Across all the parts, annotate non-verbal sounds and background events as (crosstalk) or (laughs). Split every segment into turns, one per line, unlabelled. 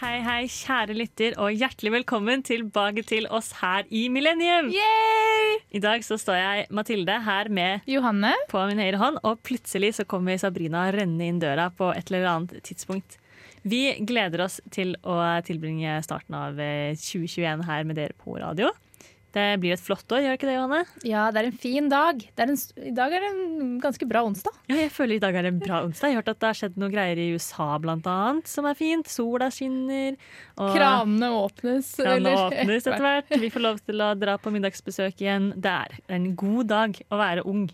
Hei, hei, kjære lytter, og hjertelig velkommen tilbake til oss her i Millennium.
Yay!
I dag så står jeg, Mathilde, her med
Johanne.
på min høyre hånd, og plutselig så kommer Sabrina rennende inn døra på et eller annet tidspunkt. Vi gleder oss til å tilbringe starten av eh, 2021 her med dere på radio. Det blir et flott år, gjør det ikke det, Johanne?
Ja, det er en fin dag. Det er en, s- I dag er det en ganske bra onsdag.
Ja, jeg føler i dag er det en bra onsdag. Jeg har hørt at det har skjedd noen greier i USA blant annet, som er fint. Sola skinner. og-
Kranene åpnes.
Kranene
eller-
åpnes etter hvert. Vi får lov til å dra på middagsbesøk igjen. Det er en god dag å være ung.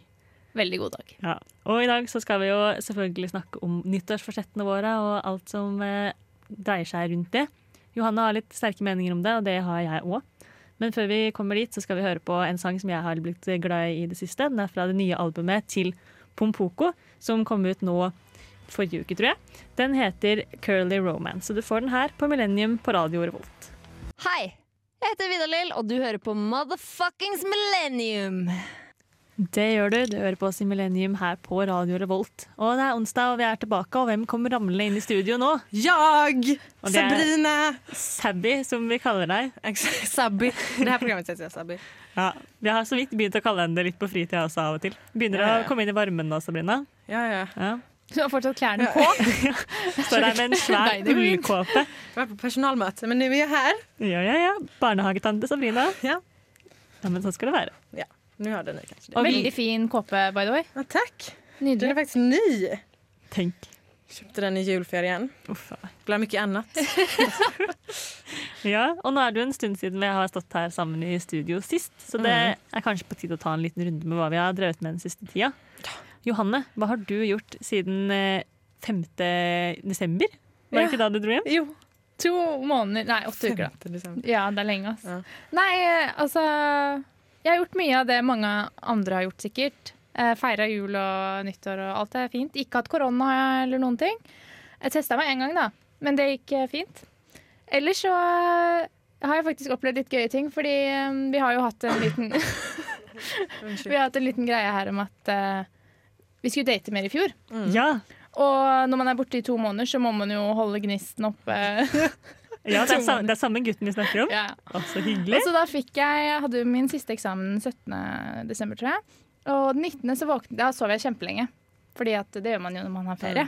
(laughs) Veldig god dag.
Ja. Og i dag så skal vi jo selvfølgelig snakke om nyttårsforsettene våre og alt som eh, dreier seg rundt det. Johanne har litt sterke meninger om det, og det har jeg òg. Men før vi kommer dit, så skal vi høre på en sang som jeg har blitt glad i i det siste. Den er fra det nye albumet til Pompoko, som kom ut nå forrige uke, tror jeg. Den heter Curly Romance, og du får den her på Millennium på radio Revolt.
Hei, jeg heter Vidar Lill, og du hører på Motherfuckings Millennium.
Det gjør du. Du hører på oss i Millennium her på Radio Revolt. Og det er onsdag, og vi er tilbake, og hvem kommer ramlende inn i studio nå?
Jag!
Og det er-
Sabrina!
Sabby, som vi kaller deg.
Sabby. Det her programmet heter Sabby.
Ja, Vi har så vidt begynt å kalle henne det litt på fritida også av og til. Begynner
Ja, ja,
å
ja.
komme inn i varmen nå, Sabrina.
Ja, ja. Jeg
Ja.
Hun har fortsatt klærne på.
Står der med en svær
Nei, det går fint.
ullkåpe.
har vært på personalmøte, men vi er her.
Ja, ja, ja. Barnehagetante Sabrina.
Ja.
Ja, men sånn skal det være.
ja. Nu har den kanskje det.
Og vi,
Veldig fin kåpe, by the way.
Ja, takk! Den er
Nydelig.
faktisk ny.
tenk.
Kjøpte den i julferien.
Uff, ja.
Blant mye annet.
ja, og nå er det jo en stund siden vi har stått her sammen i studio sist, så det
Mhm.
er kanskje på tide å ta en liten runde med hva vi har drevet med den siste tida. Johanne, hva har du gjort siden eh, 5. desember? Var det ikke
Ja.
da du dro hjem?
Jo. To måneder Nei, åtte uker, da.
Femte desember.
Ja, det er lenge, ass.
Ja.
Nei, eh, altså Jeg har gjort mye av det mange andre har gjort, sikkert. Eh, Feira jul og nyttår og alt er fint. Ikke hatt korona eller noen ting. Jeg testa meg én gang, da, men det gikk eh, fint. Ellers så eh, har jeg faktisk opplevd litt gøye ting, fordi eh, vi har jo hatt en liten, vi
Unnskyld.
har hatt en liten greie her om at eh, vi skulle date mer i fjor.
Mm.
Ja,
Og når man er borte i to måneder, så må man jo holde gnisten oppe. (laughs)
Ja, det er, sa, det er samme gutten vi snakker om.
ja.
Å, så hyggelig.
Og så da fikk jeg, jeg hadde jo min siste eksamen 17. desember, tror jeg. Og den 19. så våknet Da sov jeg kjempelenge. Fordi at det gjør man jo når man har ferie.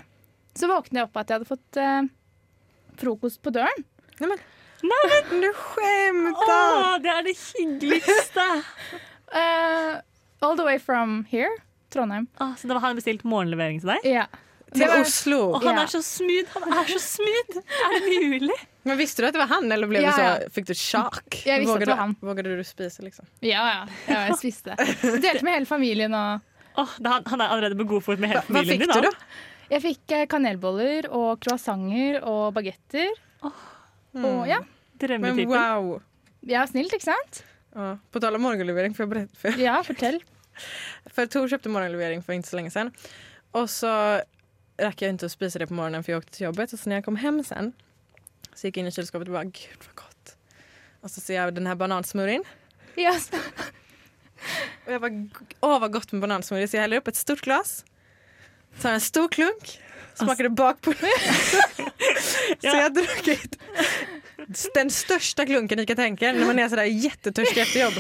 Så våknet jeg opp at jeg hadde fått eh, frokost på døren.
Nei, men du
Å,
skämtar!
det er det hyggeligste!
Eh, all the way from here. Trondheim.
Å, så da har han bestilt morgenlevering til deg?
Ja.
Til Oslo.
Og han
Ja.
er så smooth! Han er så smooth! Er det mulig?
Men visste du at det var han, eller ble du
Ja,
så,
ja.
fikk du sjokk?
Jeg visste at det var
Vågade-
han.
Vågade du spise, liksom?
Ja, ja. ja jeg spiste. Delte med hele familien og
Åh, da, han, han er allerede på god fot med hele
Hva
familien
fikk
din.
du da?
Jeg fikk eh, kanelboller og croissanter og bagetter. Og ja.
Mm. Men
Drømmetypen.
wow!
Jeg er snilt, ikke sant?
Ja. På tal om morgenlevering, får jeg berette for
Ja, fortell.
For Tor köpte morgonlevering för inte så länge sedan. Och så rack jag inte att spisa det på morgonen för jag åkte till jobbet. Och så när jag kom hem sen så gick jag in i kylskåpet och bara gud vad gott. Och så ser jag den här banansmurrin.
Ja, så-
Och jag bara åh vad gott med banansmurri. Så jag häller upp ett stort glas. Tar en stor klunk. Smakar det
(laughs)
bak på Så
Ja.
jag har druckit den största klunken ni kan tänka er när man är sådär jättetörstig efter jobb.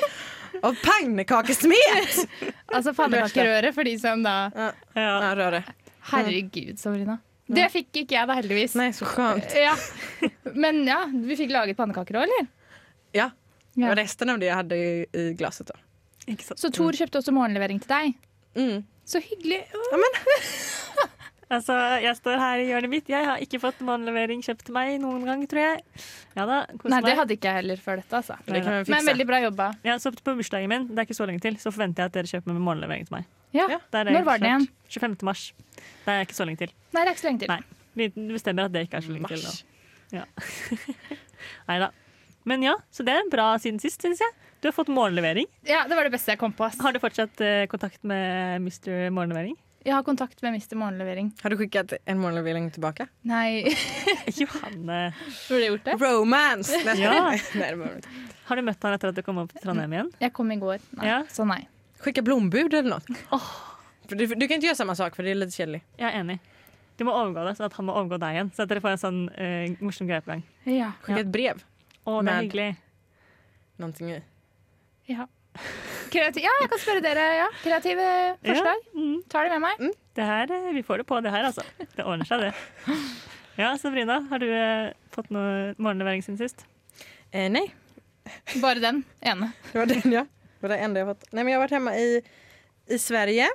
Av pannekakesmet!
(laughs) altså pannekakerøre for de som da
Ja.
Ja, rör det.
Herregud, Sabrina. Det fikk ikke jeg da, heldigvis.
Nej, så skönt.
Ja. Men ja, vi fikk laget pannekaker òg, eller?
Ja.
Ja.
Det var resten av det jag hade i, i glaset då.
Ikke sant?
Så Tor kjøpte også morgenlevering til deg.
Mm.
Så hyggelig.
Altså, jeg står her i hjørnet mitt. Jeg har ikke fått morgenlevering kjøpt til meg noen gang, tror jeg. Ja da, kos
Nei, det
meg.
hadde ikke jeg heller før dette, altså.
Men det kan vi fikse.
Men veldig bra jobba.
Jeg har sovet på bursdagen min, det er ikke så lenge til, så forventer jeg at dere kjøper med morgenlevering til meg.
Ja.
Ja.
Det er
Når var den
klart. 25. mars. Det er ikke så lenge til.
Nei, det er ikke så lenge til.
Nei. Vi bestemmer at det ikke er så lenge til nå.
Mars.
Nei da. Men ja, så det er bra siden sist, syns jeg. Du har fått morgenlevering.
Ja, Det var det beste jeg kom på. ass.
Har du fortsatt eh, kontakt med Mr. Morgenlevering? (laughs)
Jeg har kontakt med Mr. Morgenlevering.
Har du skickat en morgonlevering tillbaka?
(laughs)
Nei,
Johanne.
burde jeg gjort det?
(laughs) Romance! Nej,
Ja.
nej, nej, det behöver du inte.
Har du møtt han etter at du kom opp til Trondheim igjen?
Jeg kom i går. Nei.
Ja.
Så nei.
Skicka blombud eller något. För Du, du kan inte göra samma sak för det är lite kjedelig.
Jeg er enig. Du må overgå det, sånn at han må overgå deg igjen. Så at dere får en sånn eh, morsom greie på gang.
Ja.
Skicka ett brev.
Å, det er
Mad.
hyggelig.
Någonting i.
ja. Kreativ, ja, jeg kan spørre dere. Ja. Kreative forslag.
Ja, mm,
Tar det med meg.
det her, eh, vi får det på, det her, altså. Det ordner seg, det. Ja, Sabrina, har du eh, fått noe morgenlevering siden sist?
Eh, nej,
Bare den ene.
det var den ja. Det var det enda jag fått. Nej, men jag har varit hemma i, i Sverige,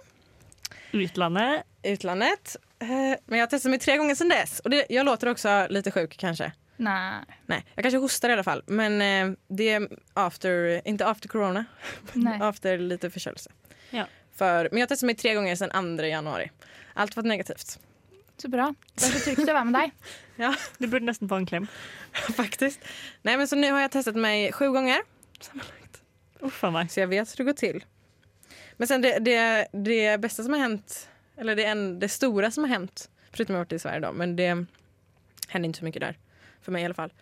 Utlandet.
utlandet. Eh, men jag har testat mig tre gånger sedan dess. Och det, jag låter också lite sjuk kanske.
Nei.
Nej, jag kanske hostar i alla fall. Men eh, det är after, inte after corona,
Nej.
after lite förkölelse.
Ja.
För, men jag har testat mig tre gånger sedan 2 januari. Allt varit negativt. (laughs)
Så bra. Det er så trygt å være med (laughs) deg.
Du burde nesten få en klem.
Faktiskt. Nej, men så nu har jag testat mig sju gånger.
Uff a meg.
Så jag vet hur det går till. Men sen det, det, det bästa som har hänt, eller det, en, det stora som har hänt, förutom att jag har varit i Sverige då, men det hände inte så mycket där, för mig i alla fall,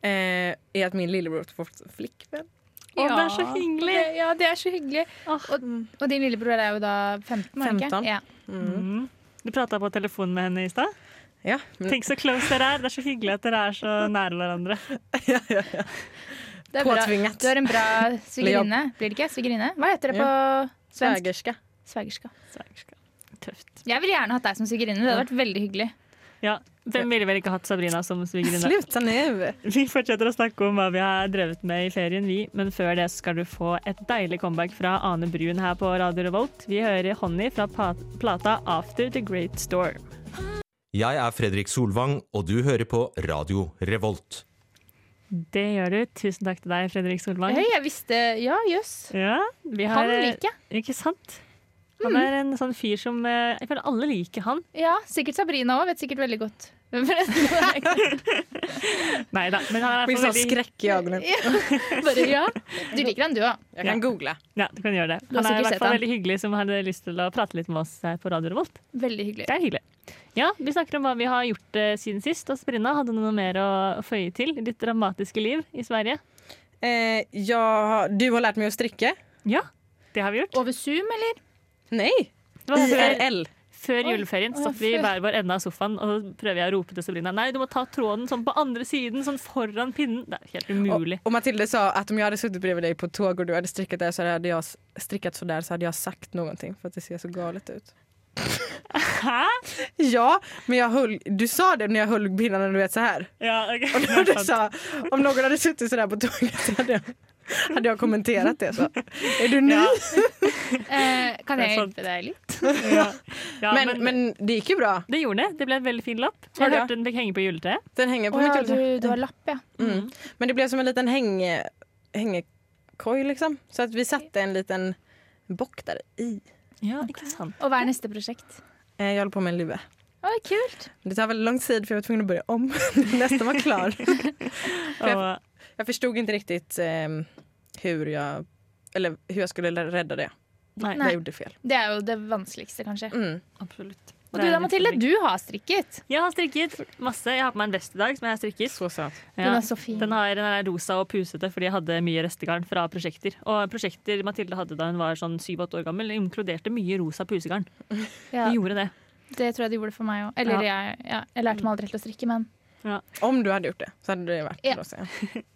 eh, är att min lillebror har fått flickvän.
Å, det er så hyggelig. Ah.
Det, ja, det er så hyggelig. Og, og din lillebror er jo da 15, var han ikke?
15.
Ja.
Mm. Du prata på telefonen med henne i stad.
Ja, men-
Tenk så close dere er. Det er så hyggelig at dere er så nære hverandre.
ja, ja, ja.
Det er bra.
Påtvingat.
Du er en bra svigerinne, blir det ikke? Svigerinne? Hva heter det på svensk?
Svägerska.
Svergerska.
Svergerska. Tøft.
Jeg ville gjerne hatt deg som svigerinne. Det hadde vært veldig hyggelig.
Ja, Hvem ville vel ikke hatt Sabrina som svigerinne?
Sluta nu!
Vi fortsetter å snakke om hva vi har drevet med i ferien, vi. Men før det så skal du få et deilig comeback fra Ane Brun her på Radio Revolt. Vi hører Honny fra pa- plata After The Great Storm.
Jeg er Fredrik Solvang, og du hører på Radio Revolt.
Det gjør du. Tusen takk til deg, Fredrik Solvang.
Hei, jeg visste Ja, jøs.
Ja, vi har,
Han liker Mm. jeg.
Ikke sant? Han er en sånn fyr som eh, Jeg føler alle liker han.
Ja, sikkert Sabrina òg. Vet sikkert veldig godt. (laughs) Bare
Nei da, men han er
Min
for
sån
veldig
skräck i ögonen.
ja. Du liker han, du òg.
Jag kan googla.
Ja, du kan gjøre det.
Du har
Han er i
sikkert
hvert
sett
fall
han.
veldig hyggelig som hadde lyst til å prate litt med oss her på Radio Revolt.
Veldig hyggelig.
Det er hyggelig. Ja, Vi snakker om hva vi har gjort eh, siden sist. Og Sabrina, hadde du noe mer å føye till i ditt dramatiske liv i Sverige?
Eh, jag, du har lært meg å strikke?
Ja, det har vi gjort.
Over Zoom, eller?
Nej!
Det var før,
IRL.
før juleferien
Oi, oi,
satt vi i
før.
hver vår ende av sofaen og så prøver jeg å rope til Sabrina Nei, du må ta tråden sånn på andre siden, sånn foran pinnen. Det er helt umulig.
Och Matilde sa att om jag hade suttit bredvid dig på tåg och du hade strickat där så hade jag s- strickat sådär så hade jag sagt någonting för att det ser så galet ut.
Hæ?
Ja, men jag höll, du sa det när jag höll pinnarna du vet så här.
Ja, ok.
Och (laughs) du sa om någon hade suttit sådär på tåget (laughs) så hade jag, hade jag kommenterat det. Så. Är du ny?
Ja,
Eh, kan
Det er sant.
jeg hjelpe deg litt?
ja. Ja,
men, men, det gick ju bra.
Det gjorde det. Det ble en veldig fin lapp.
Ja,
Jeg
ja.
hørte den fikk henge på juletreet.
Den hänger på
Å ja,
mitt
du,
huvud.
du har lapp, ja.
Mm. Men det blev som en liten häng, hängekoj liksom. Så att vi satte en liten bock där i.
Ja, ikke sant.
Og hva er neste prosjekt?
Eh, Jag håller på med en lue.
Å, kult.
Det tar väldigt lång tid för jag var tvungen att börja om. (laughs) Nästan var klar.
Og,
Jag förstod inte riktigt eh, hur, jag, eller hur jag skulle rädda det.
nei,
Jag gjorde fel.
Det er jo det vanskeligste, kanskje.
Mm.
absolutt.
Og du da, Mathilde, du har strikket.
Jeg har strikket masse. Jeg har på meg en vest i dag som jeg har strikket.
Så söt.
Ja.
Den er så fin.
Den, har, den er rosa og pusete fordi jeg hadde mye restegarn fra prosjekter. Og prosjekter Mathilde hadde da hun var sånn syv-åtte år gammel, inkluderte mye rosa pusegarn.
Ja,
De gjorde det.
det tror jeg de gjorde for meg òg. Eller jeg, ja, jeg lærte meg aldri til å strikke, men
Om du hade gjort det så hade det varit
Ja.
bra att säga.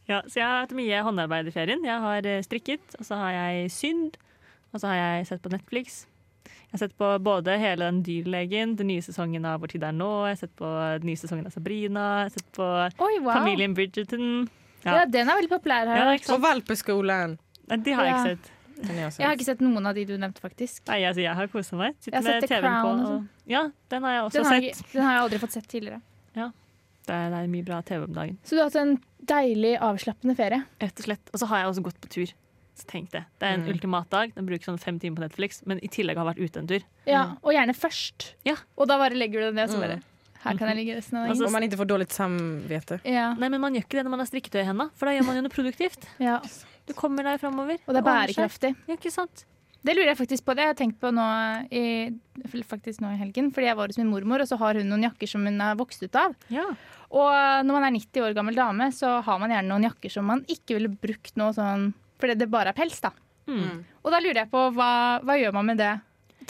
Ja, så jeg har hatt mye håndarbeid i ferien. Jeg har eh, strikket, og så har jeg synd, og så har jeg sett på Netflix. Jeg har sett på både hele den dyrlegen, den nye sesongen av Vår tid er nå, jeg har sett på den nye sesongen av Sabrina, jeg har sett på
Oi, wow.
Familien Bridgerton.
Ja. den er veldig populær her.
Ja, ikke sant?
Och valpeskolan.
Nei, de har jeg
sånn- Ja.
ikke sett.
Den har jag sett.
Jeg har ikke sett noen av de du nevnte, faktisk.
Nei, altså, jeg har kosa meg.
Jeg har
Sitter med
sett The
TV-en på.
Crown og sånn.
Og, ja, den har jeg også
Den har, jeg,
sett.
den har jeg aldri fått sett tidligere.
Det er, det er mye bra TV om dagen.
Så du har hatt en deilig, avslappende ferie.
Rett og slett. Og så har jeg også gått på tur. Så tenk det. Det er en
Mm.
ultimat dag. Den bruker sånn fem timer på Netflix, men i tillegg har jeg vært ute en tur.
Ja, Og gjerne først.
Ja.
Og da bare legger du deg ned og så bare
Mm.
Her kan jeg ligge resten av
Altså,
dagen.
Om man inte får dåligt samvete.
Ja,
Nei, men man gjør ikke det når man har strikketøy i henda, for da gjør man jo noe produktivt.
ja.
Du kommer deg framover.
Og det er bærekraftig.
Ja, ikke sant?
Det lurer jeg faktisk på. Det har jeg tenkt på nå i, faktisk nå i helgen. Fordi jeg var hos min mormor, og så har hun noen jakker som hun har vokst ut av.
Ja.
Og når man er 90 år gammel dame, så har man gjerne noen jakker som man ikke ville brukt nå sånn fordi det bare er pels, da.
Mm.
Og da lurer jeg på hva, hva gjør man med det?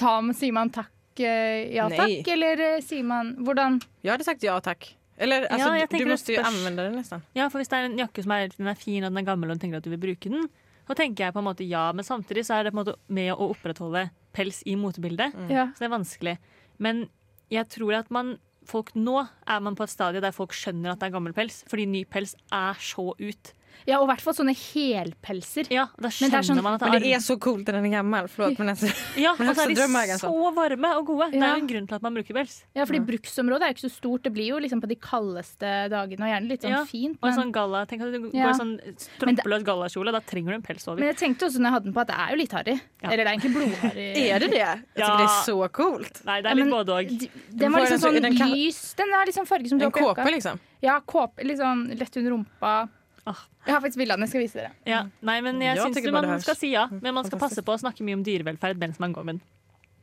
Ta, sier man takk eh, ja
Nej.
takk, eller eh, sier man hvordan
Jag hade sagt ja tack. Eller alltså,
jag
du,
tänker
du
det
måste ju
störs-
använda den nästan.
Ja, for hvis det er en jakke som er, den er fin og den er gammel og du tenker at du vil bruke den, så tenker jeg på en måte ja, men samtidig så er det på en måte med å opprettholde pels i motebildet,
ja.
så det er vanskelig. Men jeg tror at man, folk nå er man på et stadie der folk skjønner at det er gammel pels, fordi ny pels er så ut.
ja, og i hvert fall sånne helpelser.
Ja, da
Men det
skjønner
er sånn-
man at det
Men
er,
det är så coolt när den är gammal. Förlåt men alltså.
Ja,
men
og så
også
er
drømmer jeg
de
ganske.
så varme og gode. Det er
Ja.
jo en grunn til at man bruker pels.
Ja, fordi bruksområdet er jo ikke så stort. Det blir jo liksom på de kaldeste dagene, og gjerne litt sånn
Ja,
fint.
Og en
Men,
sånn galla, tenk at du går
Ja.
i sånn stroppeløs gallakjole, da trenger du en pels over.
men jeg tenkte også når jeg hadde den på at det er jo litt harry.
Ja.
Eller det er egentlig blodharry.
Är det det? Jag tycker
Ja.
det är så coolt.
Nei, det
Ja,
er litt
men
både og.
d- Den var
får
liksom
den så-
sånn
den kan-
lys. Den er liksom farge som du
En
har på jakka.
kåpa liksom.
Ja, kåpe. Litt sånn lett under rumpa.
Ah.
Jeg har faktisk bildene, jeg skal vise dere.
Ja, nei, men jeg
Ja,
syns
tenker
jo
bare det
man
her. Mm,
skal si ja. Men man skal passe på å snakke mye om dyrevelferd mens man går med den.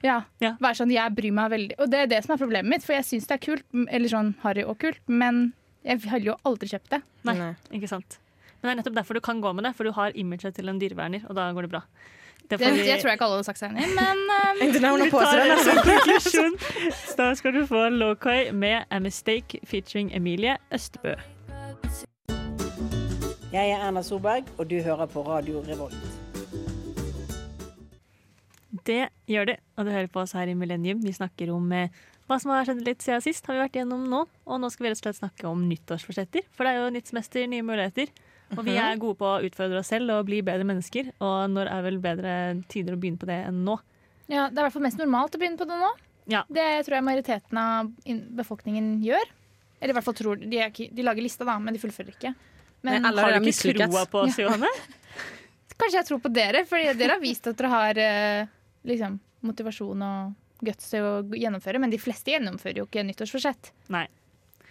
Ja.
Ja.
Være sånn, jeg bryr meg veldig. Og det er det som er problemet mitt, for jeg syns det er kult, m- eller sånn harry og kult, men jeg hadde jo aldri kjøpt det.
Nei.
Nej.
Ikke sant? Men det er nettopp derfor du kan gå med det, for du har imaget til en dyreverner, og da går det bra. Det
det jeg tror jeg ikke alle hadde sagt seg enig i, men (laughs) eh,
Inte när hon har
vi
på
tar
sig den.
en
Alltså.
sånn (laughs) konklusjon. Så Da skal du få Lokoi med A Mistake featuring Emilie Østbø.
Jeg er Erna Solberg, og du hører på Radio Revolt.
Det gjør det, og du hører på oss her i Millennium. Vi snakker om eh, hva som har skjedd litt siden sist, har vi vært igjennom nå. Og nå skal vi rett og slett snakke om nyttårsforsetter, for det er jo nytt semester, nye muligheter. Og vi er gode på å utfordre oss selv og bli bedre mennesker, og når er vel bedre tider å begynne på det enn nå?
ja, det er i hvert fall mest normalt å begynne på det nå.
Ja.
Det tror jeg majoriteten av in- befolkningen gjør. Eller i hvert fall tror de, er ikke, de lager lista, da, men de fullfører ikke. Men
Nei, alle-
har du
har
ikke
mislykkes.
troa på oss, Johanne?
kanskje jeg tror på dere, fordi dere har vist at dere har eh, liksom, motivasjon og guts til å gjennomføre. Men de fleste gjennomfører jo ikke nyttårsforsett.
Nei.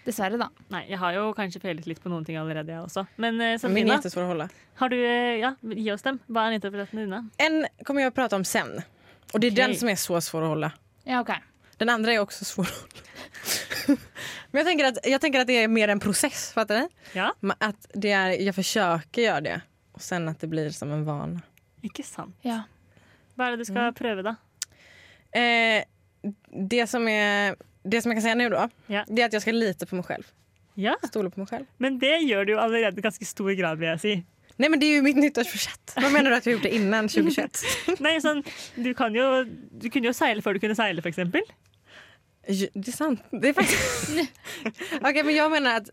Dessverre, da.
Nei, jeg har jo kanskje feilet litt på noen ting allerede, jeg også. Men eh,
Min är
Sabrina,
jättesvår att hålla.
har du, eh, ja, gi oss dem. Hva er nyttårsforsettene dine?
En kommer jag att prata om sen. Och det är
Okej.
den som är så svår att hålla.
Ja, ok.
Den andra är också svår att hålla. (laughs) Men jag tänker, att, jag tänker att det är mer en process, fattar ni?
Ja,
Ma- Att det är, jag försöker göra det och sen att det blir som en vana.
ikke sant. Mm.
Ja.
Hva er det du skal prøve, da?
Eh, det, som är, det som jag kan säga nu då,
Ja.
det är att jag ska lita på mig själv.
Ja,
Stole på mig själv.
men det gjør du jo allerede i ganske stor grad, vil jeg si.
Nej men det är ju mitt nyttårsförsett. Vad menar du att jag gjort det
(laughs)
innan 2021?
Nei, sånn, du, kan jo, du kunne jo seile før du kunne seile, for eksempel.
Ju- det är sant. Det är faktiskt... (laughs) Okej men jag menar att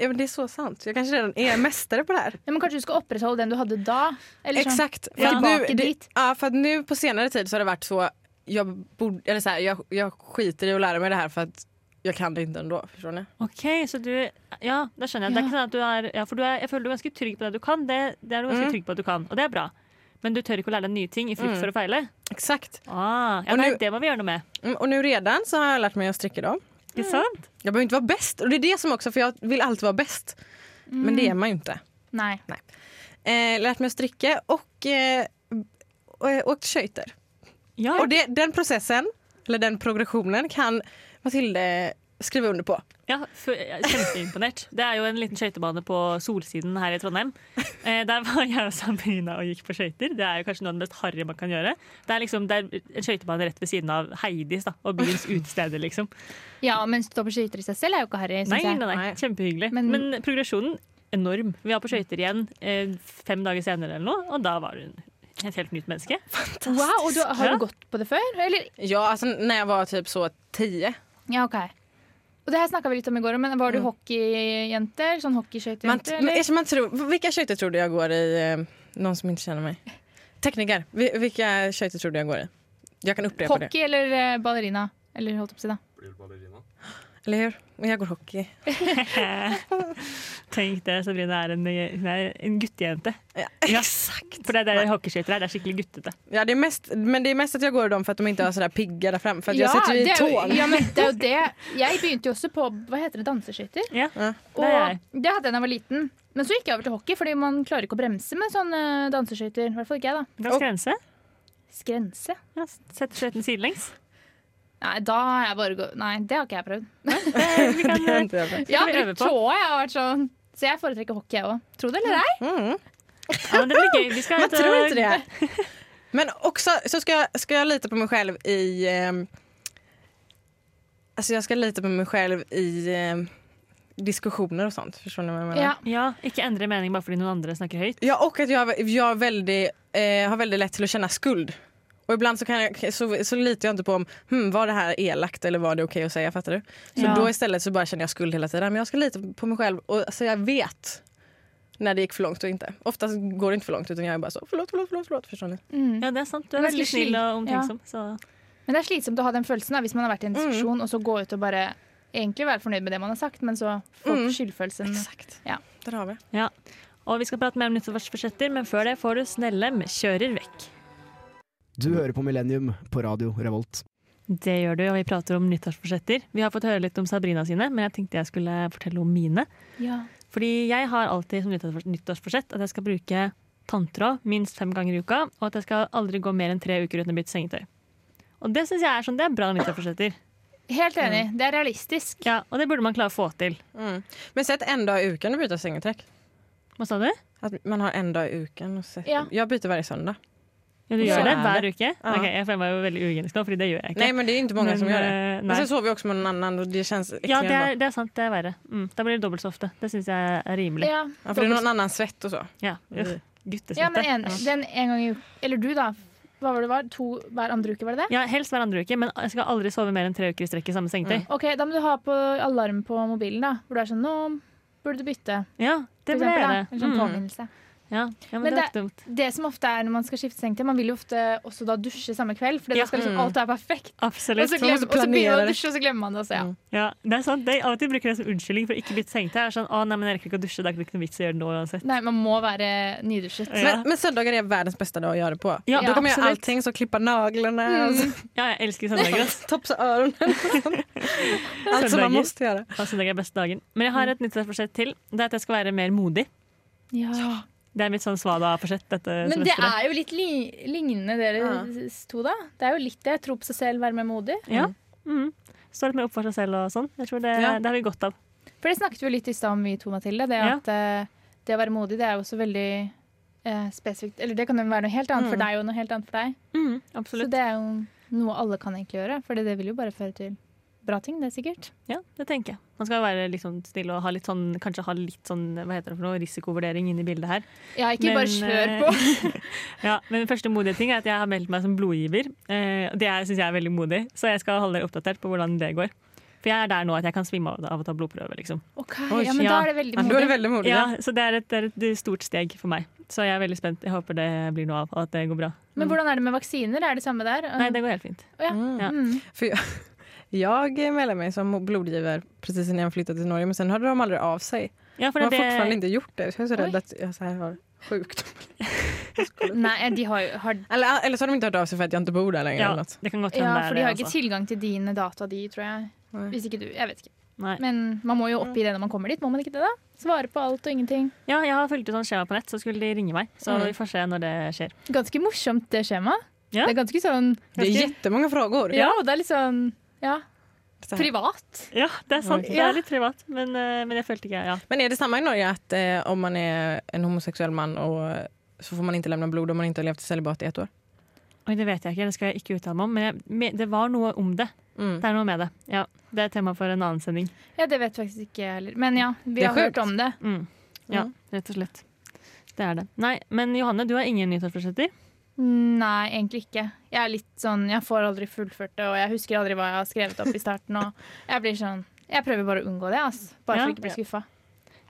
ja, men det är så sant. Jag kanske redan är mästare på det här.
Ja, men kanskje du skal opprettholde den du hadde da? Eller sånn.
Exakt. För,
Ja.
att nu,
Tillbaka
det,
dit.
ja, för att nu på senare tid så har det varit så, jag, borde, eller så här, jag, jag skiter i att lära mig det här för att jag kan det inte ändå. Förstår ni?
Ok, så du Ja, da skjønner jeg. Det er ikke sånn at du er Ja, for du er, jeg føler du er ganske trygg på det du kan. Det, det er du ganske
Mm.
trygg på at du kan, og det er bra. Men du tør ikke å lære deg nye ting i frykt
Mm.
for å feile?
Exakt.
Ah, ja,
Og
nei,
nu-
det må vi gjøre noe med.
Mm, och nu redan så har jag lärt mig att stricka dem.
Ikke sant?
Jag behöver inte vara bäst och det är det som också, för jag vill alltid vara bäst. Men
Mm.
det är man ju inte.
Nei.
Eh, lärt mig att stricka och eh, och, eh, åkt köjter.
Ja,
Och det, den processen, eller den progressionen kan Matilde skriva under på.
ja f- jeg er Kjempeimponert. Det er jo en liten skøytebane på Solsiden her i Trondheim. Eh, der var (laughs) jeg og Sabrina og gikk på skøyter. Det er jo kanskje noe av det mest harry man kan gjøre. Det er liksom det er en skøytebane rett ved siden av Heidis da, og byens utesteder, liksom.
Ja, men stå på skøyter i seg selv er jo ikke harry,
Nei,
syns
nei,
jeg.
nei,
Nei.
kjempehyggelig. Men,
Men-
progresjonen enorm. Vi var på skøyter igjen eh, fem dager senere, eller noe, og da var hun et helt nytt menneske.
Wow, og du, har
Ja.
du gått på det før? Eller?
Ja, alltså när jag var typ så tio.
Ja, ok. Og det her snakka vi litt om i går, men var du hockeyjente? eller Sånn
Man,
hockeyskøytejente?
men,
eller?
eftersom man tror, vilka köjter tror du jag går i? Eh, någon som inte känner mig. Tekniker, vi- vilka köjter tror du jeg går i? Jag kan upprepa det.
Hockey eller eh, ballerina? Eller holdt jeg på å si, da.
Eller hur? Men Jag går hockey.
Tenk det, Sabrina er en, hun er en guttejente.
Ja,
Exakt. For det er det hockeyskøyter er. Det er skikkelig guttete.
Ja, det är mest, men det är mest att jag går i dem för att de inte har sådär pigga där fram. För att jag sitter
det
i
er jo,
tån.
ja, men det er jo det. Jeg begynte jo også på hva heter det, danseskøyter.
Ja.
Og
Det er jeg.
det hadde jeg da jeg var liten. Men så gikk jeg over til hockey, fordi man klarer ikke å bremse med sånne eh, danseskøyter. I hvert fall ikke jeg, da.
Langs grense.
Skrense?
Ja, Setter skøyten sidelengs.
Nei, da har jeg bare gå... Nei, det har ikke jeg prøvd.
Vi kan,
Det har inte jag (laughs)
Jeg
vi
har
øve
brukt
på?
tåa, jeg har vært sånn. Så jag foretrekker hockey, jeg òg. Tro det eller ei.
ja, men det blir gøy. Vi skal
Mm. Man
ut og-
tror (laughs) inte det. Men också så ska jag, ska jag lita på mig själv i, eh, Alltså jag ska lita på mig själv i eh, diskussioner och sånt. Förstår ni vad jag menar?
Ja.
Ja, ikke endre mening bare fordi noen andre snakker høyt.
Ja, och att jag, jag är väldigt, eh, har väldigt lätt till att känna skuld. Och ibland så, kan jag, så, så litar jag inte på om hmm, var det här elakt eller var det okej att säga. Fattar du? Så
Ja.
då istället så bara känner jag skuld hela tiden. Men jag ska lita på mig själv och, så jag vet när det gick för långt och inte. Oftast går det inte för långt utan jag är bara så förlåt, förlåt, förlåt. förlåt förstår ni?
Mm.
Ja, det er sant. Du er
Men
veldig
snill.
snill og omtenksom. Så.
Men det er slitsomt å ha den følelsen da, hvis man har vært i en
Mm.
diskusjon og så gå ut og bare egentlig være fornøyd med det man har sagt, men så få
Mm.
skyldfølelsen.
Exakt.
Ja.
Där har vi.
Og vi skal prate mer om nyttårsforsetter, men før det får du Snelle med 'Kjører vekk'.
Du hører på Millennium på radio Revolt.
Det gjør du, og vi prater om nyttårsforsetter. Vi har fått høre litt om Sabrina sine, men jeg tenkte jeg skulle fortelle om mine.
Ja.
Fordi jeg har alltid som nyttårsfors- nyttårsforsett at jeg skal bruke tanntråd minst fem ganger i uka, og at jeg skal aldri gå mer enn tre uker uten å bytte sengetøy. Og det syns jeg er sånn, det er bra nyttårsforsetter.
Helt enig. Det er realistisk.
Ja, og det burde man klare å få til.
Mm. Men sett en dag i uken och byta sängeträck.
Hva sa du?
Att man har en dag i uken. Och sett,
Ja.
Jag byter varje söndag.
Ja, du
Så
gjør det
er
hver
det.
uke?
Ja.
Ok, jeg føler meg jo veldig uhygienisk nå, fordi det gjør jeg ikke.
Nej men det är inte många
Men,
som gör det.
eh,
Men
Nei.
sen sover jag också med någon annan och det känns
Ja,
äckligare
det
bara.
er, det er sant. Det er verre. Mm. Da blir det dobbelt så ofte. Det syns jeg er rimelig.
Ja.
Ja, för det är någon annan svett och så.
Ja,
Mm.
Guttesvette.
ja, men en, den en gang i uka Eller du, da. Hva var det det var? To hver andre uke, var det det?
Ja, helst hver andre uke, men jeg skal aldri sove mer enn tre uker i strekk i samme sengetøy.
Mm.
Ok, Da må du ha på alarm på mobilen, da. Hvor du er sånn Nå burde du bytte.
Ja, det
for
ble
eksempel, da.
det.
En sånn
Mm.
påminnelse.
Ja, ja, men,
Men
det er ikke dumt.
Det som ofte er når man skal skifte sengetøy, man vil jo ofte også da dusje samme kveld.
Ja.
For
sånn
da skal liksom
Mm.
alt er perfekt. Og
Absolutt.
så,
Man må
glemmer, og så begynner
planere
man å
det.
dusje, og så glemmer man det. Så, ja.
Mm.
Ja, det er sant. Det, av og til bruker jeg det som unnskyldning for å ikke bytte sengetøy. Jeg er Sånn, å, nei, men jeg rekker ikke å dusje, det er ikke noe vits i å gjøre det nå uansett.
Nei, man må være nydusjet.
Ja.
Men, men söndagar är världens bästa dag att göra det på.
Ja,
Då kommer jag göra
absolut.
allting, så klippa naglarna,
Mm.
Ja, jag elsker
(laughs)
søndager. ass.
alltså, topsa öronen. Allt som
Söndagar.
man måste göra.
Ja, søndag er beste dagen. Men
Mm.
jeg har et nyttårsforsett til. Det er at jeg skal være mer modig.
Ja.
Det er mitt sånn svada-forsett dette
Men det
semesteret.
er jo litt li lignende dere s- to, da. Det er jo litt det. Tro på seg selv, være mer modig.
Ja. Mm. Står litt mer opp for seg selv og sånn. Jeg tror det,
Ja.
det har vi godt av.
For det snakket vi jo litt i stad om, vi to, Mathilde. Det,
Ja.
at, eh, det å være modig, det er jo også veldig eh, spesifikt. Eller det kan jo være noe helt annet for deg og noe helt annet for deg. Så
Mm. absolutt.
det er jo noe alle kan egentlig gjøre. For det vil jo bare føre til bra ting, det er sikkert.
Ja, det tenker jeg. Man skal være litt sånn stille og ha litt sånn, kanskje ha litt sånn hva heter det for noe, risikovurdering inni bildet her.
Ja, ikke
Men,
bare kjør
eh,
på. (laughs)
(laughs) Ja, men den første modige ting er at jeg har meldt meg som blodgiver. Eh, og det syns jeg er veldig modig, så jeg skal holde dere oppdatert på hvordan det går. For jeg er der nå at jeg kan svimme av av å ta blodprøve, liksom.
Ok,
Oi,
ja, men da
ja.
er det veldig
Ja, Då är det
modig.
väldigt modigt.
Ja, så det er, et, det er et stort steg for meg. Så jeg er veldig spent. Jeg håper det blir noe av, og at det går bra.
Men hvordan er det med vaksiner? Er det samme der?
Nei, det går helt fint.
Å, ja.
Mm.
Ja.
Mm.
För jag, jag mejlade mig som blodgivare precis innan jag flyttade till Norge men sen hörde de aldrig av sig.
Ja, for
De har
det,
fortfarande inte gjort det. Så jag är så
Oj.
rädd att jag så här har sjukdom.
Nei, eh, de har jo har,
Eller, eller så har de inte hört av sig for at jeg ikke bor der lenger.
ja,
eller något.
det kan godt hende
Ja,
det
for
er
de
det.
har ikke
Altså.
tilgang til dine data, de, tror jeg.
Nei.
Hvis ikke du. Jeg vet ikke.
Nei.
Men man må jo
Mm.
oppgi det når man kommer dit, må man ikke det da? Svare på alt og ingenting.
Ja, jeg har fulgt ut sånn skjema på nett, så skulle de ringe meg. Så
Mm.
vi får se når det skjer.
Ganske morsomt det skjemaet.
Ja.
Det er ganske sånn
Det är jättemånga frågor.
Ja, og det er litt sånn ja,
Så här.
privat.
Ja, det er sant.
Oi.
Det er litt privat, men, eh, men jeg følte ikke ja.
Men är det samma i Norge att eh, om man är en homosexuell man och, eh, så får man inte lämna blod om man inte har levt i celibat i ett år?
Oi, det vet jeg ikke, det skal jeg ikke uttale meg om, men jeg, me- det var noe om det.
Mm.
Det er noe med det. Ja, det er tema for en annen sending.
Ja, det vet faktisk ikke jeg heller. Men ja, vi
Det er
har hørt
sjukt.
om det.
Mm. Ja,
Mm.
rett og slett. Det er det. Nei, men Johanne, du har ingen nyttårsforsetter.
Nei, egentlig ikke. Jeg er litt sånn, jeg får aldri fullført det, og jeg husker aldri hva jeg har skrevet opp i starten. Og jeg blir sånn Jeg prøver bare å unngå det, altså. Bare
Ja.
for ikke å bli skuffa.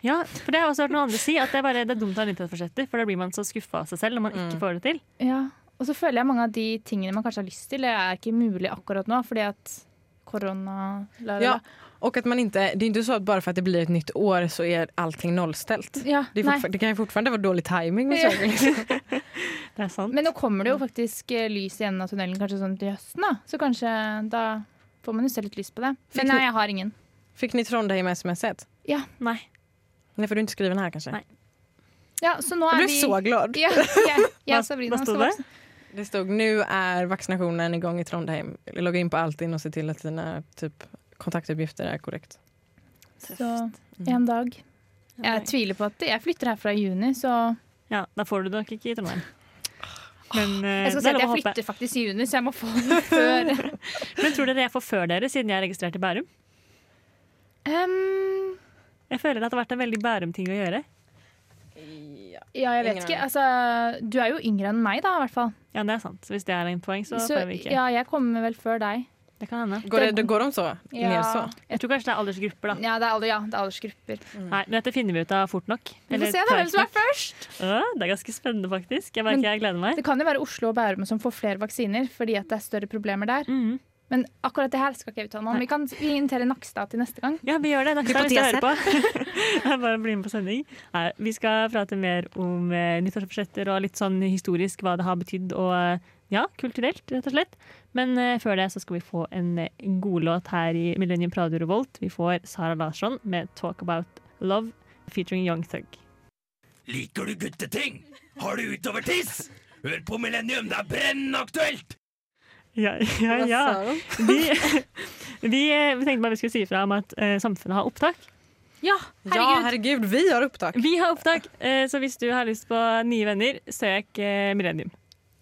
Ja, for det har jeg også hørt noen andre si, at det er, bare, det er dumt å ha nyttårsforsetter, for da blir man så skuffa av seg selv når man ikke
Mm.
får det til.
Ja. Og så føler jeg mange av de tingene man kanskje har lyst til, det er ikke mulig akkurat nå, fordi at korona la, la, la.
Ja, och att man inte, det är inte så att bara för att det blir ett nytt år så är allting nollställt.
Ja,
Det, är
nei.
fortfar- det kan ju fortfarande vara dålig timing med
Ja. (laughs)
saker. Liksom.
Det er sant.
Men nå kommer det jo faktisk eh, lys igjen av tunnelen kanskje sånn til høsten, da. Så kanskje da får man jo se litt lyst på det.
Fikk
Men nei,
du-
jeg har ingen.
Fick ni Trondheim smset?
Nei.
Nej, för du har inte skriven här kanske?
Nej.
Ja, så nå
Jag
er
blev
vi
så glad.
Ja, jeg, jeg
Hva-
og Sabrina
hva sto
skal
det?
vokse.
Det stod nu är vaccinationen igång i Trondheim. Logga in på Altinn och se till att dina typ, kontaktuppgifter är korrekt. Mm.
Så mm. en dag. Jeg tviler på at Jeg flytter herfra i juni, så
Ja, da får du det nok ikke i Trondheim. Men, eh,
Jeg
det
skal si
er
at jeg
lov å håpe.
flytter faktisk i juni, så jeg må få den før. (laughs)
Men tror dere jeg får før dere, siden jeg er registrert i Bærum?
Ehm,
Jeg føler at det har vært en veldig Bærum-ting å gjøre.
ja, jeg vet
Ingen
ikke. Altså, du er jo yngre enn meg, da, i hvert fall.
Ja, det er sant. Hvis det er en poeng, så,
Så
får vi ikke.
ja, jeg kommer vel før deg.
Det kan hende.
Går, det, det- går de så?
Ja.
Ned så?
Jeg tror kanskje det er aldersgrupper, da.
Ja, det er, alder, ja, det er aldersgrupper.
Nei, men dette finner vi ut av fort nok.
Mm. Vi
Eller
får se da, hvem
traust
som
nok.
er først.
Ja, det er ganske spennende, faktisk. Jeg
Men-
merker jeg gleder meg.
Det kan jo være Oslo og Bærum som får flere vaksiner fordi at det er større problemer der.
Mhm.
Men akkurat det her skal ikke jeg uttale meg om. Vi kan vi inviterer Nakstad til neste gang.
Ja, vi gjør det. Nakstad, hvis
Lykke
du hører
til,
på. (laughs) Jeg Bare bli med på sending. Nei, vi skal prate mer om eh, nyttårsforsetter og litt sånn historisk hva det har betydd, og eh, ja, kulturelt, rett og slett. Men eh, før det så skal vi få en eh, godlåt her i Millennium Radio Revolt. Vi får Sara Larsson med 'Talk About Love' featuring Young Thug.
Liker du gutteting? Har du utovertiss? Hør på Millennium, det er brennende aktuelt!
Ja, ja, ja. Vi, (laughs) vi, eh, vi tenkte bare vi skulle si ifra om at eh, samfunnet har opptak.
Ja,
Ja, herregud, vi har opptak.
Vi har opptak, eh, så hvis du har lyst på nye venner, søk eh, Millennium.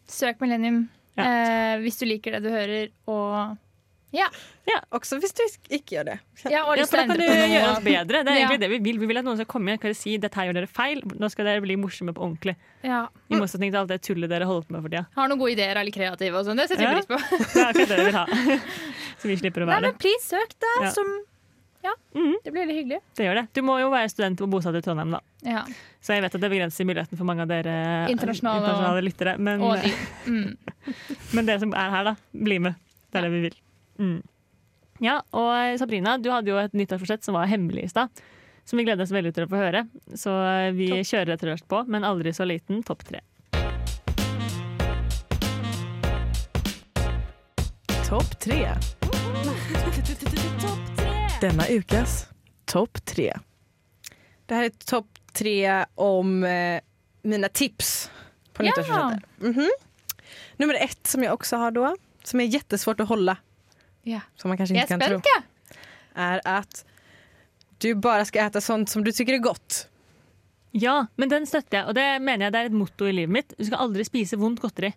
Søk Millennium
Ja.
eh, hvis du liker det du hører, og
Også hvis du ikke gjør det.
ja, og har
Ja,
lyst
for
til
da kan
å
du
endre på
gjøre
noe.
oss bedre. Det er
Ja.
egentlig det vi vil. Vi vil at noen skal komme igjen og si dette her gjør dere feil. Nå skal dere bli morsomme på ordentlig.
Ja.
I motsetning til alt det tullet dere holder på med for tida.
Har noen gode ideer eller kreative og sånn. Det setter
Ja.
vi pris på.
Det er akkurat det vi vil ha. (laughs) Så vi slipper å
Nei,
være det.
men please, søk det
Ja.
som Ja,
Mhm.
det blir veldig hyggelig.
Det gjør det. Du må jo være student og bosatt i Trondheim, da.
Ja.
Så jeg vet at det begrenser muligheten for mange av dere eh,
Internasjonale og-
internasjonale lyttere. Men,
Og de. Mm.
men dere som er her, da, bli med. Det er det vi vil. Mm. Ja, og eh, Sabrina, du hadde jo et nyttårsforsett som var hemmelig i stad. Som vi gleder oss veldig til å få høre. Så eh, vi kjører rett og slett på, men aldri så liten topp tre.
Topp tre. Denna ukas topp tre. Det här är topp tre om eh, mina tips på
Ja.
nyttårspresenter. Mhm. Nummer ett som jag också har då, som är jättesvårt att hålla,
Ja.
som man kanske
Jeg
inte
er
kan tro,
spent, jeg.
är att du bara ska äta sånt som du tycker är gott.
Ja, men den støtter jeg, og det mener jeg det er et motto i livet mitt. Du skal aldri spise vondt godteri.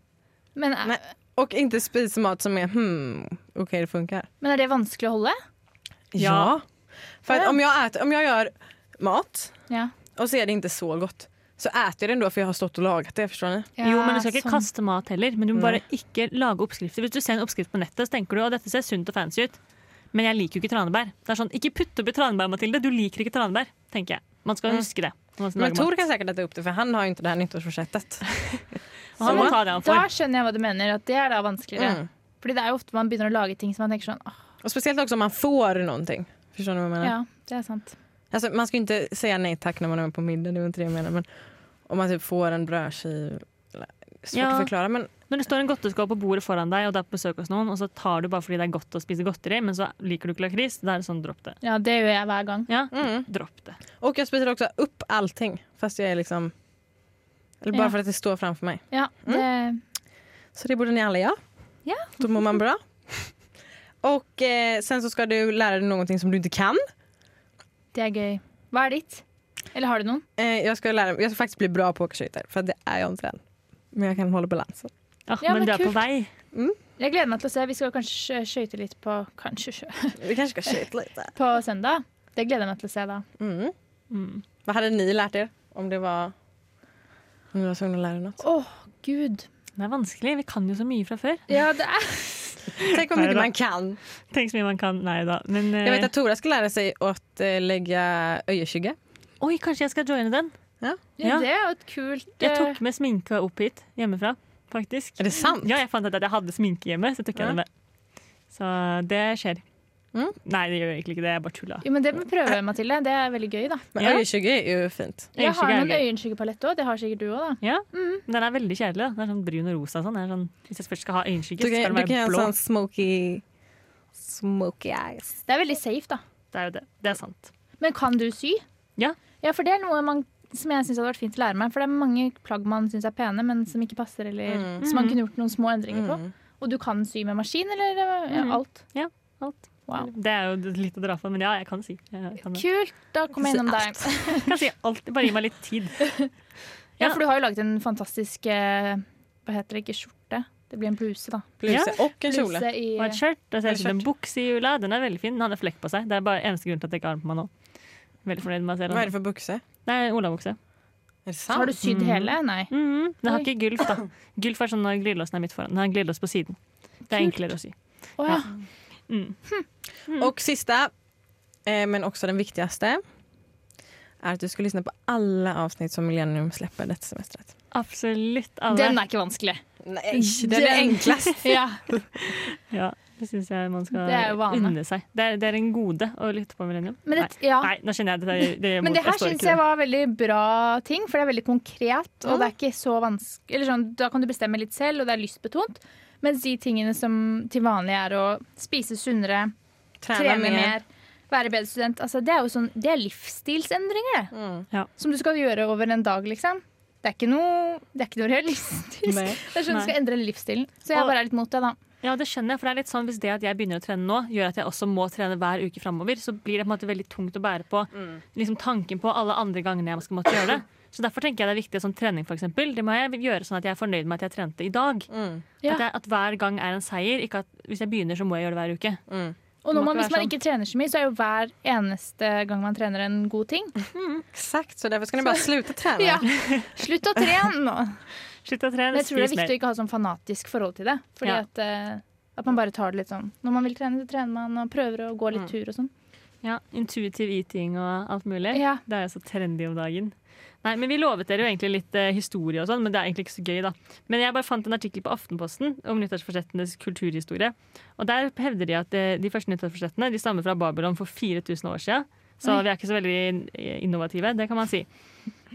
Men, er-
Nej. Och inte spisa mat som är hmm, okej det funkar.
men er det vanskelig å holde?
Ja.
För att om jag, äter, om jag gör mat
Ja.
och så är det inte så gott så äter jag det ändå för jeg har stått och lagat det, förstår ni?
jo, men Du skal ikke
sånn.
kaste mat heller, men du må
Nei.
bare ikke lage oppskrifter. Hvis du ser en oppskrift på nettet, så tenker du at dette ser sunt og fancy ut, men jeg liker jo ikke tranebær. Det er sånn, Ikke putt oppi tranebær, Mathilde. Du liker ikke tranebær, tenker jeg. Man skal huske det. når man skal
Mm. Men
lage mat.
Tor kan säkert äta upp det för han har ju inte det här nyttårsforsättet.
Og han må ta det han
Da
får.
skjønner jeg hva du mener, at det er da vanskeligere.
Mm.
Fordi det er jo ofte man begynner å lage ting som man tenker sånn åh,
Och speciellt också om man får någonting. Förstår ni vad jag menar?
ja, det er sant.
Alltså, man ska ju inte säga nej tack när man är med på middag, det var inte det jag menar. Men om man typ får en brödskiv. eller- Svårt
Ja.
att förklara men
Når det står en godteskål på bordet foran deg, og du er på besøk hos noen, og så tar du bare fordi det er godt å spise godteri, men så liker du ikke lakris, da er det sånn dropp det.
Ja, det gjør jeg hver gang.
Ja,
mm.
dropp det.
Och jag spiser också upp allting fast jag är liksom eller bara
Ja.
för att det står framför mig.
Ja, det,
Så det borde ni alla göra.
Ja.
Då mår
(laughs)
man bra. Och eh, sen så ska du lära dig någonting som du inte kan.
det er gøy. Hva er ditt? Eller har du noen?
Eh, jag, ska lära, jag ska faktiskt bli bra på att åka skidor för det är jag inte än. Men jag kan hålla balansen.
Ah,
Ja,
men,
men
du er
kult.
på vei.
Jeg gleder meg til å se. Vi skal kanskje skøyte litt på Kanskje sjø.
Vi kanske ska skita lite.
På søndag. Det gleder jeg meg til å se da.
Mm.
Mm.
Vad hade ni lärt er om det var om ni var tvungna att lära er något?
Åh, gud.
Det er vanskelig. Vi kan jo så mye fra før.
Ja, det er
Tänk om
Nej
mycket
då.
man kan.
Tenk så mye man kan. Nei da. Men eh,
Jag vet att Tora ska lära sig att eh, lägga öjerskygga.
Oi, kanskje jeg skal joine den?
ja,
Ja.
Det er jo et kult
Jeg
eh,
tok med sminke opp hit hjemmefra, faktisk.
Är det sant?
Ja, jeg fant ut at jeg hadde sminke hjemme, så tok jeg
Ja.
det med. Så det skjer.
Mm.
Nei, det gjør egentlig ikke det. Jeg bare tulla.
Jo, men det må vi prøve, Mathilde. Det er veldig gøy, da.
Men
Ja.
öjerskygga är ju fint.
Jeg har
Øyenskygge er
noen
gøy.
øyenskyggepalett òg. Det har sikkert du òg, da.
Ja, men Den er veldig kjedelig. da. Den er sånn brun og rosa. og Sånn. Den er sånn, hvis jeg først skal ha øyenskygge, så
Du
skal den
kan, du kan
være
göra en
blå.
sån smoky, smoky eyes.
Det er veldig safe, da.
Det er jo det. Det er sant.
Men kan du sy?
Ja.
Ja, for det er noe man, som jeg syns hadde vært fint å lære meg. For det er mange plagg man syns er pene, men som ikke passer, eller
Mm.
som
Mm.
man kunne gjort noen små endringer på. Og du kan sy med maskin, eller ja,
Mm.
alt.
Ja, alt.
Wow.
Det er jo litt å dra for, men ja, jeg kan si. Jeg kan, det.
Kult. Da kommer jeg innom deg. (laughs)
jeg kan si alt. Bare gi meg litt tid.
Ja, for du har jo laget en fantastisk eh, hva heter det, ikke skjorte. Det blir en bluse, da.
Bluse och en kjole.
Bluse i
Og et skjørt. altså, Det ser ut som en
skjørt.
bukse i jula. Den er veldig fin. Den hadde flekk på seg. Det er bare eneste grunn til at jeg ikke har den på meg nå. Veldig fornøyd med meg selv.
Vad är det för bukse?
Nei, olabukse.
Är det
Så har du
sant?
sydd hele? Nei.
Mhm. Den har
Oi.
ikke gulf, da. Gulf er sånn når glidelåsen er midt foran. Den har glidelås på siden. Det er enklere å sy.
Å ja.
Mm.
Och sista, eh, men också den viktigaste, är att du ska lyssna på alla avsnitt som Millennium släpper detta semestret.
Absolutt alle.
Den er ikke vanskelig.
Nej, det är det
(laughs)
enklaste.
Ja.
Ja, det syns jeg man skal
Det er jo vane.
unne seg. Det er, det er en gode å lytte på Millennium.
Men det, ja.
Nei, nå kjenner jeg at det, det, det,
Men det her syns jeg var veldig bra ting, for det er veldig konkret. Og det er ikke så vanskelig eller sånn, Da kan du bestemme litt selv, og det er lystbetont. Mens de tingene som til vanlig er å spise sunnere,
(laughs) Träna,
trene
mer.
mer, være bedre student, altså det er jo sånn, det er livsstilsendringer, det.
Mm.
Ja.
Som du skal gjøre over en dag, liksom. Det er ikke noe, det er ikke noe realistisk.
Nei.
Det er sånn
Nei.
du skal endre livsstilen. Så jeg
Og-
bare er litt mot det, da.
Ja, det skjønner jeg. For det er litt sånn hvis det at jeg begynner å trene nå, gjør at jeg også må trene hver uke framover, så blir det på en måte veldig tungt å bære på
Mm.
liksom tanken på alle andre gangene jeg skal måtte gjøre det. Så derfor tenker jeg det er viktig sånn trening, for eksempel. Det må jeg gjøre sånn at jeg er fornøyd med at jeg trente i dag.
Mm.
Ja.
At, jeg, at hver gang er en seier. Ikke at hvis jeg begynner, så må jeg gjøre det hver uke.
Og
Det
når
må
man,
ikke
hvis
være
man ikke trener så mye, så er jo hver eneste gang man trener en god ting.
Exakt, så därför ska ni bara sluta (laughs) träna.
Ja. (laughs) Slutt å trene nå!
Slutt å
Men
trene,
jeg tror det er
spis mer.
viktig å ikke ha sånn fanatisk forhold til det. Fordi
Ja.
at, eh, at man bare tar det litt sånn Når man vil trene, så trener man og prøver å
Mm.
gå litt tur og sånn.
Ja, intuitive eating og alt mulig.
Ja.
Det er jo så trendy om dagen. Nei, men Vi lovet dere jo egentlig litt eh, historie, og sånn, men det er egentlig ikke så gøy. da. Men jeg bare fant en artikkel på Aftenposten om nyttårsforsettenes kulturhistorie. Og Der hevder de at eh, de første nyttårsforsettene de stammer fra Babylon for 4000 år siden. Så
Oi.
vi er ikke så veldig eh, innovative, det kan man si.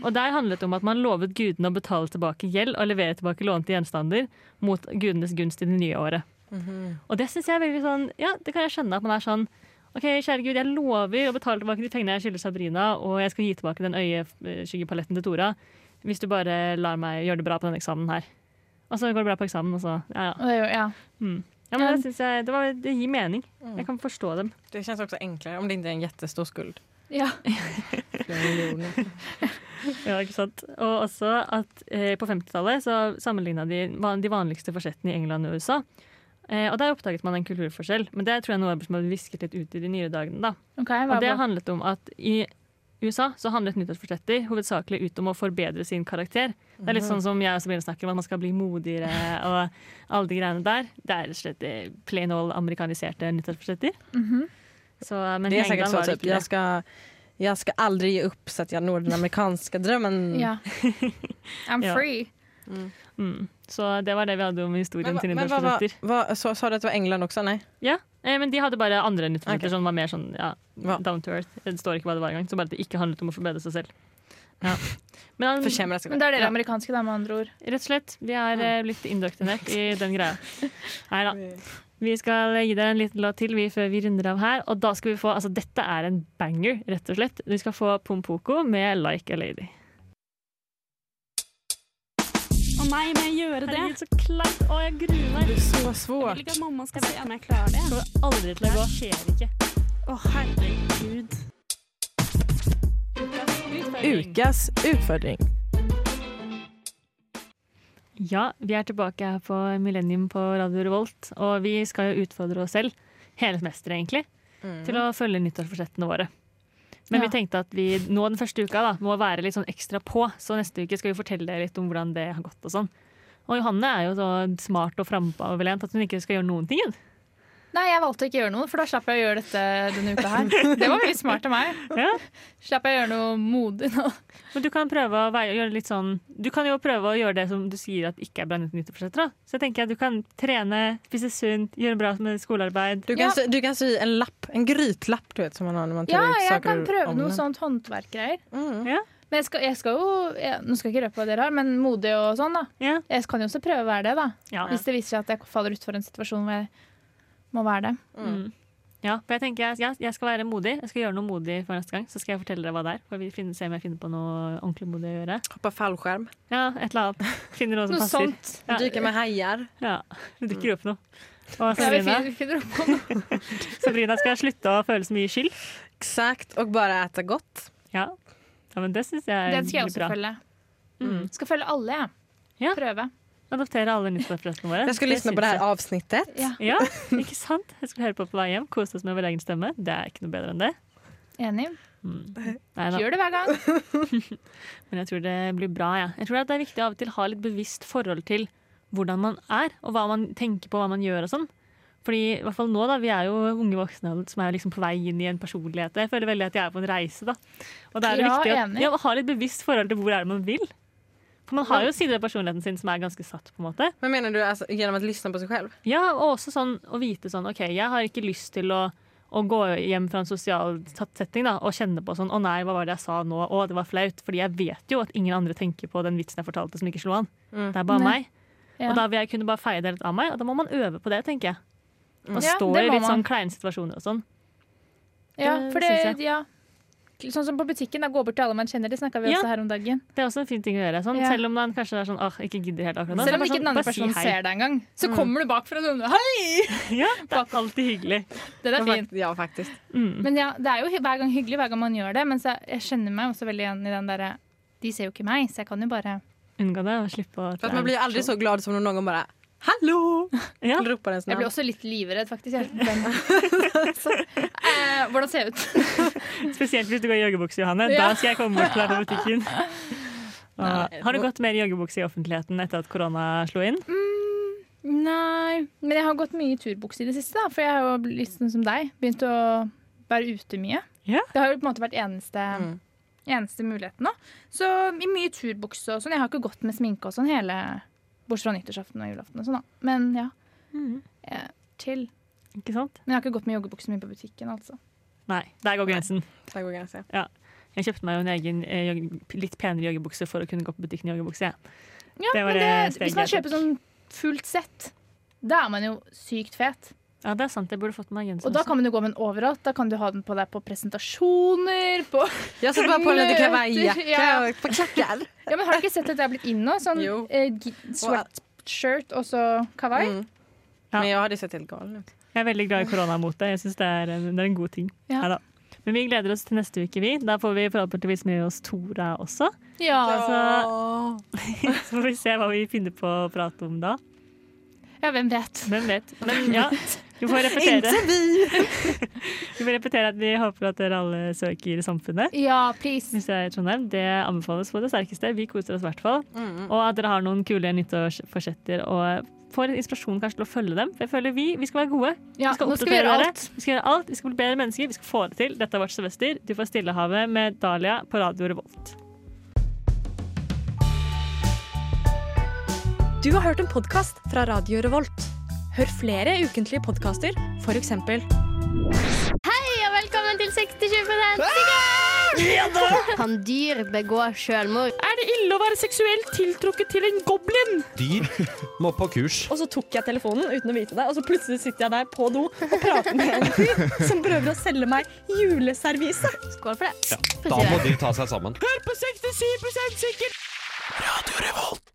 Og Der handlet det om at man lovet gudene å betale tilbake gjeld og levere tilbake lånte gjenstander mot gudenes gunst i det nye året. Og det synes jeg er veldig sånn Ja, det kan jeg skjønne at man er sånn OK, kjære Gud, jeg lover å betale tilbake de pengene jeg skylder Sabrina, og jeg skal gi tilbake den øyeskyggepaletten til Tora hvis du bare lar meg gjøre det bra på den eksamen her. Og så går det bra på eksamen, og så Ja, ja.
Og det, er jo- ja.
ja men det, synes jeg, det, var, det gir mening. Jeg kan forstå dem.
Det känns också enklare om det inte är en jättestor skuld.
Ja.
Flera miljoner.
Ja, ikke sant? Og også at eh, på 50-tallet så sammenligna de van- de vanligste forsettene i England og USA. Eh, og der oppdaget man en kulturforskjell, men det tror jeg nå er noe som har visket litt ut i de nyere dagene. da.
Ok, hva
Og det
var-
handlet om at i USA så handlet nyttårsforsetter hovedsakelig ut om å forbedre sin karakter. Det er
liksom
litt
Mm.
sånn som jeg og Sabine snakker om, at man skal bli
(laughs)
modigere og alle de greiene der. Det er rett og slett eh, plain old amerikaniserte nyttårsforsetter.
Mhm.
Så, eh, men
Det sånn
i
är säkert
England
så
var det
typ,
ikke
jag
det.
ska, jag ska aldrig ge upp så att jag når den amerikanska drömmen. (laughs)
ja. I'm
Mm. Ja.
free.
(laughs) Mm. Så det var det vi hadde om historien
Men, va-
til
men vad, var-
nyttårsforsetter.
vad, så, sa du att det var England också? Nej?
Ja, eh, men de hadde bare andre nyttårsforsetter
Ok.
som var mer sånn ja,
Hva?
down to earth. Det står ikke hva det var engang. Så bare at det ikke handlet om å forbedre seg selv. Ja. Men han,
Försämras
Men da er dere
Ja.
amerikanske, da, med andre ord.
Rett og slett. Vi er eh, blitt indoktrinert i den greia. Nei da. Vi skal gi dere en liten låt til vi, før vi runder av her. Og da skal vi få, altså Dette er en banger, rett og slett. Vi skal få Pompoko med 'Like a Lady'.
Å nei, må jeg gjøre det?
Herregud, så kleint! Å, jeg gruer meg.
Det er så
Jeg vil
svårt.
ikke at mamma skal se om jeg klarer
Det
det.
kommer aldri til å gå. Det skjer ikke.
Å, herregud.
Ukas utfordring.
Ja, vi er tilbake her på Millennium på Radio Revolt, og vi skal jo utfordre oss selv, hele semesteret egentlig,
Mm.
til å følge nyttårsforsettene våre. Men
Ja.
vi tenkte at vi nå den første uka da, må være litt sånn ekstra på, så neste uke skal vi fortelle dere litt om hvordan det har gått og sånn. Og Johanne er jo så smart og framoverlent at hun ikke skal gjøre noen ting. (laughs) hun.
Nei, jeg valgte å ikke gjøre noe, for da slapp jeg å gjøre dette denne uka her. Det var veldig smart av meg.
Ja.
Slapp jeg å gjøre noe modig nå.
Men du kan prøve å veie- gjøre litt sånn Du kan jo prøve å gjøre det som du sier at ikke er bra nyttårsforsetter. da. Så jeg tenker at du kan trene, spise sunt, gjøre bra med skolearbeid.
Du kan,
Ja.
sy, du kan sy en lapp, en grytlapp du vet, som man har när man tar
Ja,
ut
jeg
saker
kan
ur
prøve noe
ugnen.
sånt håndverkgreier.
Mm.
Ja.
Men jeg skal, jeg skal jo jeg, Nå skal jeg ikke røpe hva dere har, men modig og sånn, da.
Ja.
Jeg kan jo også prøve å være det, da.
Ja.
Hvis det viser seg at jeg faller utfor en situasjon hvor jeg må være det.
Mm. Ja, for jeg tenker jeg, ja, jeg skal være modig. Jeg skal gjøre noe modig for neste gang. Så skal jeg fortelle dere hva det er. For vi finner, se om jeg finner på noe ordentlig modig å gjøre.
Hoppa fallskärm.
Ja, et eller annet. Finner noe som
Noe
passer.
sånt.
Ja.
Dyka med hajar.
Ja, Det dukker opp noe. Og
Ja, vi
Sabrina,
finner- vi finner opp på noe.
Sabrina skal slutte å føle så mye skyld.
Exakt. Och bara äta gott.
Ja, ja men det syns jeg
Den skal jeg
blir
også
bra.
følge.
Mm.
Skal følge alle, jeg.
Ja.
Prøve.
adoptere alle nyttårsforsettene våre.
Jag ska lyssna på det
syns
här avsnittet.
Ja,
jeg. Ja, ikke sant? Jeg skulle høre på på vei hjem. Kose oss med vår egen stemme. Det er ikke noe bedre enn det.
Enig.
Nei da.
Gjør det hver
(laughs)
gang.
Men jeg tror det blir bra. Ja. Jeg tror at det er viktig av og til å ha litt bevisst forhold til hvordan man er, og hva man tenker på, hva man gjør og sånn. Fordi, i hvert fall nå da, Vi er jo unge voksne som er liksom på vei inn i en personlighet. Jeg føler veldig at jeg er på en reise. da. Og da er det
Ja,
viktig å
enig.
ja, å ha litt bevisst forhold til hvor er det man vil. For man har jo sider av personligheten sin som er ganske satt. på en måte.
Men menar du alltså, genom att lyssna på sig själv?
Ja, og også sånn å vite sånn OK, jeg har ikke lyst til å, å gå hjem fra en sosial satt setting da, og kjenne på sånn Å nei, hva var det jeg sa nå? Å, det var flaut. Fordi jeg vet jo at ingen andre tenker på den vitsen jeg fortalte som ikke slo an.
Mm.
Det er bare
Nei.
meg.
Ja.
Og da vil jeg kunne bare feie det litt av meg, og da må man øve på det, tenker jeg. Og
Ja,
stå
det
i
må
litt
man.
sånn kleine situasjoner og sånn.
Ja,
Det
for
syns
det, ja. Sånn som på butikken, da gå bort til alle man kjenner. Det snakka vi
Ja.
også her om dagen.
Det er også en fin ting å gjøre. Sånn,
Ja.
Selv om man kanskje er sånn åh, ikke gidder helt akkurat nå.
Selv om
så
ikke
bare sånn,
den andre
bare si
personen
hei. Mm.
ser deg engang, så kommer du bakfra og sånn
(laughs)
Hei!
Ja, det er alltid hyggelig.
Den er
Ja,
fin.
fakt- Ja, faktiskt.
Mm.
Men ja, det er jo hy- hver gang hyggelig hver gang man gjør det. Men så, jeg kjenner meg også veldig igjen i den derre De ser jo ikke meg, så jeg kan jo bare
Unngå det og slippe å
För att man blir aldrig så glad som när någon bara Hallå!
ja.
Eller ropar ens
Jeg
namn.
blir også litt livredd, faktisk. Jeg. Hvem? (laughs) eh, hvordan ser jeg ut?
Spesielt hvis du går i joggebukse, Johanne.
Ja.
Da skal jeg komme bort til deg på
(laughs)
butikken. Og, har du gått mer i joggebukse i offentligheten etter at korona slo inn?
Nei, men jeg har gått mye i turbukse i det siste, da, for jeg har jo blitt sånn som deg. Begynt å være ute mye.
Ja.
Det har jo på en måte vært eneste,
Mm.
eneste muligheten nå. Så i mye turbukse og sånn. Jeg har ikke gått med sminke og sånn hele Bortsett fra nyttårsaften og julaften og sånn, da. Men ja. Eh, chill.
Ikke sant?
Men jeg har ikke gått med joggebukse mye på butikken, altså.
Nei, der går grensen.
Där går gränsen.
Jeg kjøpte meg jo en egen eh, jogge- litt penere joggebukse for å kunne gå på butikken i joggebukse. jeg.
Ja,
Det var
men
det
det,
steget
hvis man
jeg
kjøper sånn fullt sett, da er man jo sykt fet.
Ja, det er sant. Jeg burde fått meg sånn genser.
Og da
også.
kan man jo gå med den overalt. Da kan du ha den på deg på presentasjoner, på
Jag sätter bara på en liten kavajjacka
Ja.
och ett par klackar.
Ja, men Har du ikke sett at det er blitt in nå? Sånn
Jo.
eh, gi- sweatshirt og så kawaii?
Mm.
Ja.
Men jag hade sett helt galen ut.
Jeg er veldig glad i koronamotet. Jeg syns det, er en- det er en god ting.
Ja.
Neida. Men vi gleder oss til neste uke, vi. Da får vi forhåpentligvis med oss Tora også. (laughs)
Ja.
Altså- Så får vi se hva vi finner på å prate om da.
ja, hvem vet.
Hvem vet. Men ja, du får repetere. Vi vil repetere at vi håper at dere alle søker Samfunnet.
Ja, please.
Hvis jeg er i Trondheim, Det anbefales på det sterkeste. Vi koser oss i hvert fall.
Mm.
Og at dere har noen kule nyttårsforsetter og får inspirasjon kanskje til å følge dem. For jeg føler Vi, vi skal være gode.
Ja,
Vi skal
nå skal vi
oppdatere
gjøre
dere.
alt.
Vi skal gjøre alt. Vi skal bli bedre mennesker. Vi skal få det til. Dette er vårt semester. Du får Stillehavet med Dahlia på Radio Revolt.
Du har hørt en podkast fra Radio Revolt. Hør flere ukentlige podkaster, f.eks.
Ja, velkommen til 60-20 Kan dyr begå selvmord?
Er det ille å være seksuelt tiltrukket til en goblin?
Dyr må på kurs.
Og så tok jeg telefonen uten å vite det, og så plutselig sitter jeg der på do og prater med en fyr som prøver å selge meg juleservise.
Skål for det.
Da må de ta seg sammen.
Hør på 67 sikkert! Radio Revolt!